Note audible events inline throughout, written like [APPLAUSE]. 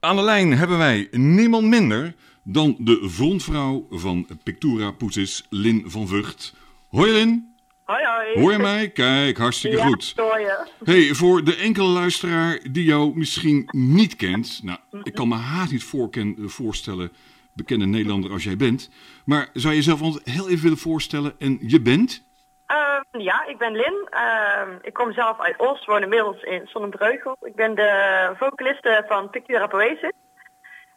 Aan de lijn hebben wij niemand minder dan de frontvrouw van Pictura Poetis, Lin van Vught. Hoi Lin, Hoi hoi. hoor je mij? Kijk, hartstikke Ja, goed. hoor je. Hey, voor de enkele luisteraar die jou misschien niet kent. Nou, ik kan me haast niet voorken, voorstellen, bekende Nederlander als jij bent. Maar zou je jezelf ons heel even willen voorstellen? En je bent? [LAUGHS] Ehm, ja, ik ben Lin. Ehm, ik kom zelf uit Oost, woon inmiddels in Sonnenbreugel. Ik ben de vocaliste van Pictura Poesis.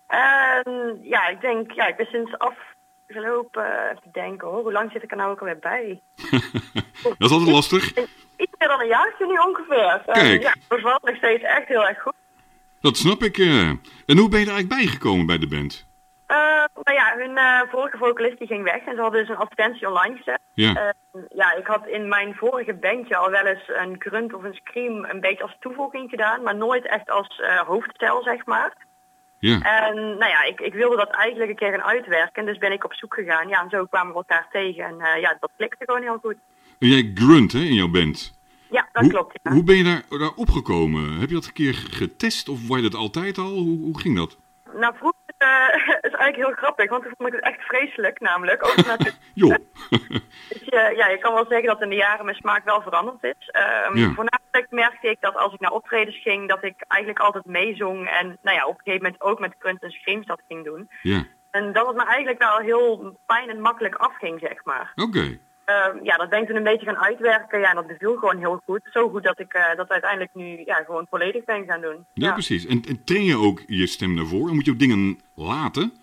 En ja, ik denk, ja, ik ben sinds afgelopen, even denken hoor, hoe lang zit ik er nou ook alweer bij? Dat is altijd lastig. Iets meer dan een jaartje nu ongeveer. Eh, Kijk. ja, het bevalt nog steeds echt heel erg goed. Dat snap ik. eh. En hoe ben je er eigenlijk bijgekomen bij de band? Eh, nou ja, hun eh, vorige vocalist die ging weg en ze hadden dus een advertentie online gezet. Ja, Eh, ja, ik had in mijn vorige bandje al wel eens een grunt of een scream een beetje als toevoeging gedaan, maar nooit echt als eh hoofdstijl, zeg maar. ja. En nou ja, ik, ik wilde dat eigenlijk een keer gaan uitwerken, dus ben ik op zoek gegaan. Ja, en zo kwamen we elkaar tegen en eh, ja, dat klikte gewoon heel goed. En jij grunt hè, in jouw band. Ja, dat Hoe, klopt. Ja. hoe ben je daar, daar opgekomen? Heb je dat een keer getest of was je dat altijd al? Hoe, hoe ging dat? Nou, vroeger eh, [LAUGHS] is eigenlijk heel grappig, want toen vond ik het echt vreselijk namelijk. Ook omdat ik- Joh. Dus je, ja, je kan wel zeggen dat in de jaren mijn smaak wel veranderd is. Ehm, Ja. Voornamelijk merkte ik dat als ik naar optredens ging, dat ik eigenlijk altijd meezong. En nou ja, op een gegeven moment ook met kunst en screams dat ging doen. [LAUGHS] ja, En dat het me eigenlijk wel heel fijn en makkelijk afging, zeg maar. oké. Ehm, ja, dat ben ik toen een beetje gaan uitwerken. Ja, en dat beviel gewoon heel goed. Zo goed dat ik eh, dat uiteindelijk nu ja, gewoon volledig ben gaan doen. Ja, precies. En, en train je ook je stem daarvoor? En moet je ook dingen laten? Nou,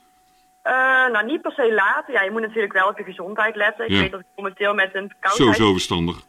Eh, nou, niet per se later. Ja, je moet natuurlijk wel op je gezondheid letten. Ik Ja. weet dat ik momenteel met een Zo, verkoudheid zo verstandig.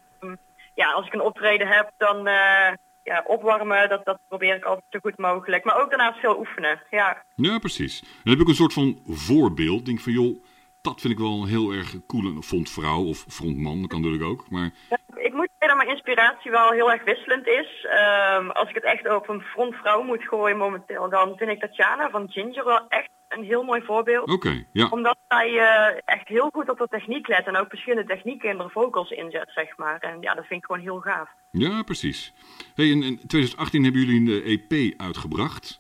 ja, als ik een optreden heb, dan eh, ja, opwarmen, dat, dat probeer ik altijd zo goed mogelijk. Maar ook daarnaast veel oefenen. Ja, Ja, precies. En dan heb ik een soort van voorbeeld. Denk van, joh, dat vind ik wel een heel erg cool. Een frontvrouw of frontman, dat kan natuurlijk ook. Maar ik moet zeggen dat mijn inspiratie wel heel erg wisselend is. Ehm, als ik het echt op een frontvrouw moet gooien momenteel, dan vind ik Tatjana van Ginger wel echt een heel mooi voorbeeld. oké, ja. Omdat zij eh, echt heel goed op de techniek let en ook verschillende technieken in de vocals inzet, zeg maar. En ja, dat vind ik gewoon heel gaaf. Ja, precies. Hey, in, in 2018 hebben jullie een EP uitgebracht.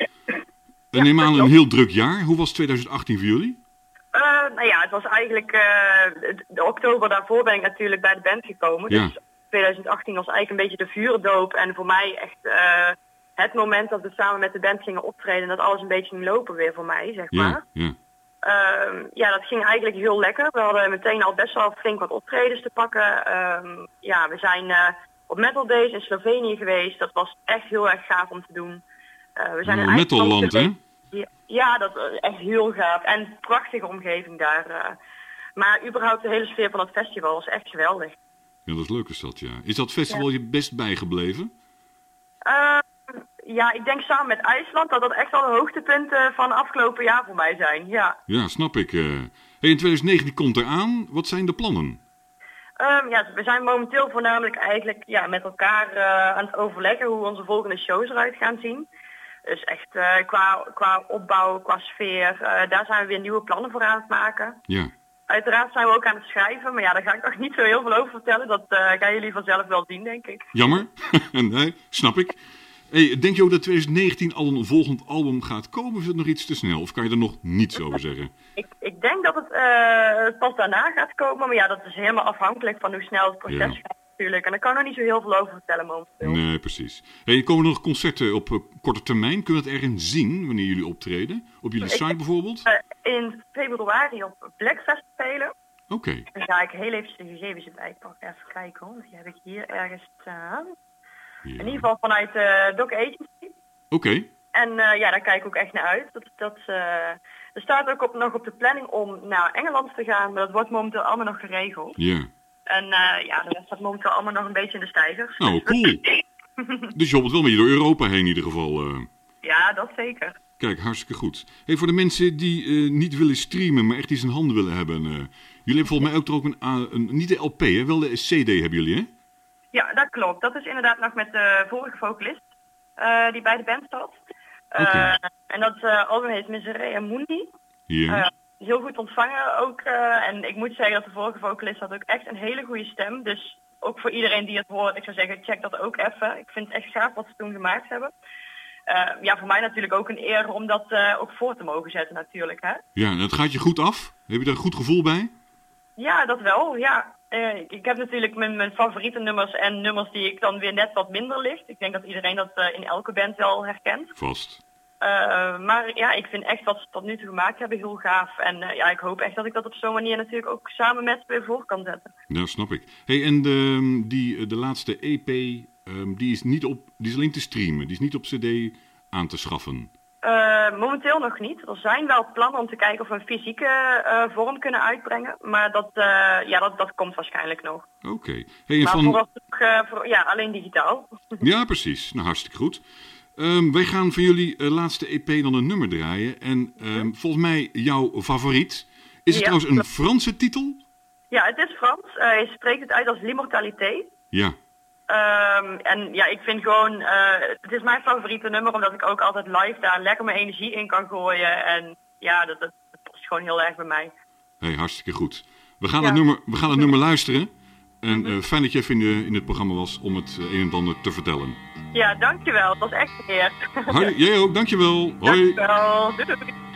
En neem aan een heel druk jaar. Hoe was 2018 voor jullie? Eh, nou ja, het was eigenlijk... eh, de oktober daarvoor ben ik natuurlijk bij de band gekomen. Ja. Dus 2018 was eigenlijk een beetje de vuurdoop. En voor mij echt eh, het moment dat we samen met de band gingen optreden... en dat alles een beetje ging lopen weer voor mij, zeg maar. Ja, ja. Ehm, ja, dat ging eigenlijk heel lekker. We hadden meteen al best wel flink wat optredens te pakken. Ehm, ja, we zijn eh, op Metal Days in Slovenië geweest. Dat was echt heel erg gaaf om te doen. Eh, we zijn in Een Eindhoven metalland, hè? geweest. Ja, Ja, dat is echt heel gaaf. En prachtige omgeving daar. eh. Maar überhaupt de hele sfeer van het festival was echt geweldig. Ja, dat is leuk is dat, ja. Is dat festival je best bijgebleven? Eh, ja, ik denk samen met IJsland dat dat echt wel de hoogtepunten van afgelopen jaar voor mij zijn. Ja. Ja, snap ik. eh. Hey, in 2019 komt eraan. Wat zijn de plannen? Ehm, ja, we zijn momenteel voornamelijk eigenlijk ja, met elkaar eh, aan het overleggen hoe onze volgende shows eruit gaan zien. Dus echt eh, qua, qua opbouw, qua sfeer, eh, daar zijn we weer nieuwe plannen voor aan het maken. Ja. Uiteraard zijn we ook aan het schrijven, maar ja, daar ga ik nog niet zo heel veel over vertellen. Dat eh, gaan jullie vanzelf wel zien, denk ik. Jammer. [LAUGHS] nee, snap ik. Hey, denk je ook dat 2019 al een volgend album gaat komen? Of is het nog iets te snel? Of kan je er nog niets over zeggen? Ik, ik denk dat het eh, pas daarna gaat komen, maar ja, dat is helemaal afhankelijk van hoe snel het proces Ja. gaat natuurlijk. En daar kan ik nog niet zo heel veel over vertellen momenteel. Nee, precies. Hey, komen er nog concerten op eh, korte termijn? Kunnen we dat ergens zien wanneer jullie optreden? Op jullie site bijvoorbeeld? Oké. Eh, in februari op Blackfest spelen. Dan ga ik heel even de gegevens erbij pakken. Even kijken hoor. Die heb ik hier ergens staan. Ja. In ieder geval vanuit eh Doc Agency. Oké. En eh, ja, daar kijk ik ook echt naar uit. Dat, dat, eh, er staat ook op, nog op de planning om naar Engeland te gaan. Maar dat wordt momenteel allemaal nog geregeld. Ja. En eh, ja, dat staat momenteel allemaal nog een beetje in de stijgers. Nou, cool. Dus je hobbelt wel een beetje door Europa heen in ieder geval. eh. [LAUGHS] Ja, dat zeker. Kijk, hartstikke goed. Hey, voor de mensen die eh, niet willen streamen, maar echt iets in handen willen hebben. eh, jullie hebben volgens mij ook er ook een, A- een niet de LP, hè, wel de CD hebben jullie, hè? Ja, dat klopt. Dat is inderdaad nog met de vorige vocalist eh, die bij de band zat. Eh, Oké. En dat eh, album heet Miserea Mundi. Ja. Eh, heel goed ontvangen ook. eh, en ik moet zeggen dat de vorige vocalist had ook echt een hele goede stem. Dus ook voor iedereen die het hoort, ik zou zeggen, check dat ook even. Ik vind het echt gaaf wat ze toen gemaakt hebben. eh, ja, voor mij natuurlijk ook een eer om dat eh, ook voor te mogen zetten natuurlijk. Hè? Ja, dat gaat je goed af. Heb je daar een goed gevoel bij? Ja, dat wel. Ja. Eh, ik- ik heb natuurlijk mijn, mijn favoriete nummers en nummers die ik dan weer net wat minder ligt. Ik denk dat iedereen dat eh, in elke band wel herkent. Vast. Eh, maar ja, ik vind echt wat ze tot nu toe gemaakt hebben heel gaaf. En eh, ja, ik hoop echt dat ik dat op zo'n manier natuurlijk ook samen met ze weer voor kan zetten. Ja, Nou, snap ik. Hey, en de, die, eh, de laatste EP, ehm, die, is niet op, die is alleen te streamen. Die is niet op cd aan te schaffen. Eh, momenteel nog niet. Er zijn wel plannen om te kijken of we een fysieke eh, vorm kunnen uitbrengen. Maar dat, eh, ja, dat, dat komt waarschijnlijk nog. Oké. Hey, en Maar van... vooralsnog eh, voor- ja, alleen digitaal. Ja, precies. Nou, hartstikke goed. Ehm, wij gaan van jullie eh, laatste EP dan een nummer draaien. En ehm, volgens mij jouw favoriet. Is het Ja, trouwens een klopt. Franse titel? Ja, het is Frans. Eh, je spreekt het uit als l'immortalité. Ja. Ehm, en ja, ik vind gewoon, eh, het is mijn favoriete nummer omdat ik ook altijd live daar lekker mijn energie in kan gooien. En ja, dat, dat, dat past gewoon heel erg bij mij. Hey, hartstikke goed. We gaan, Ja. Mhm. het, nummer, we gaan het nummer luisteren. En eh, fijn dat je even in, de- in het programma was om het eh, een en ander te vertellen. Ja, dankjewel. Dat was echt een eer. Harry, jij ook, dankjewel. Hoi. [LAUGHS] dankjewel. Doei. doei.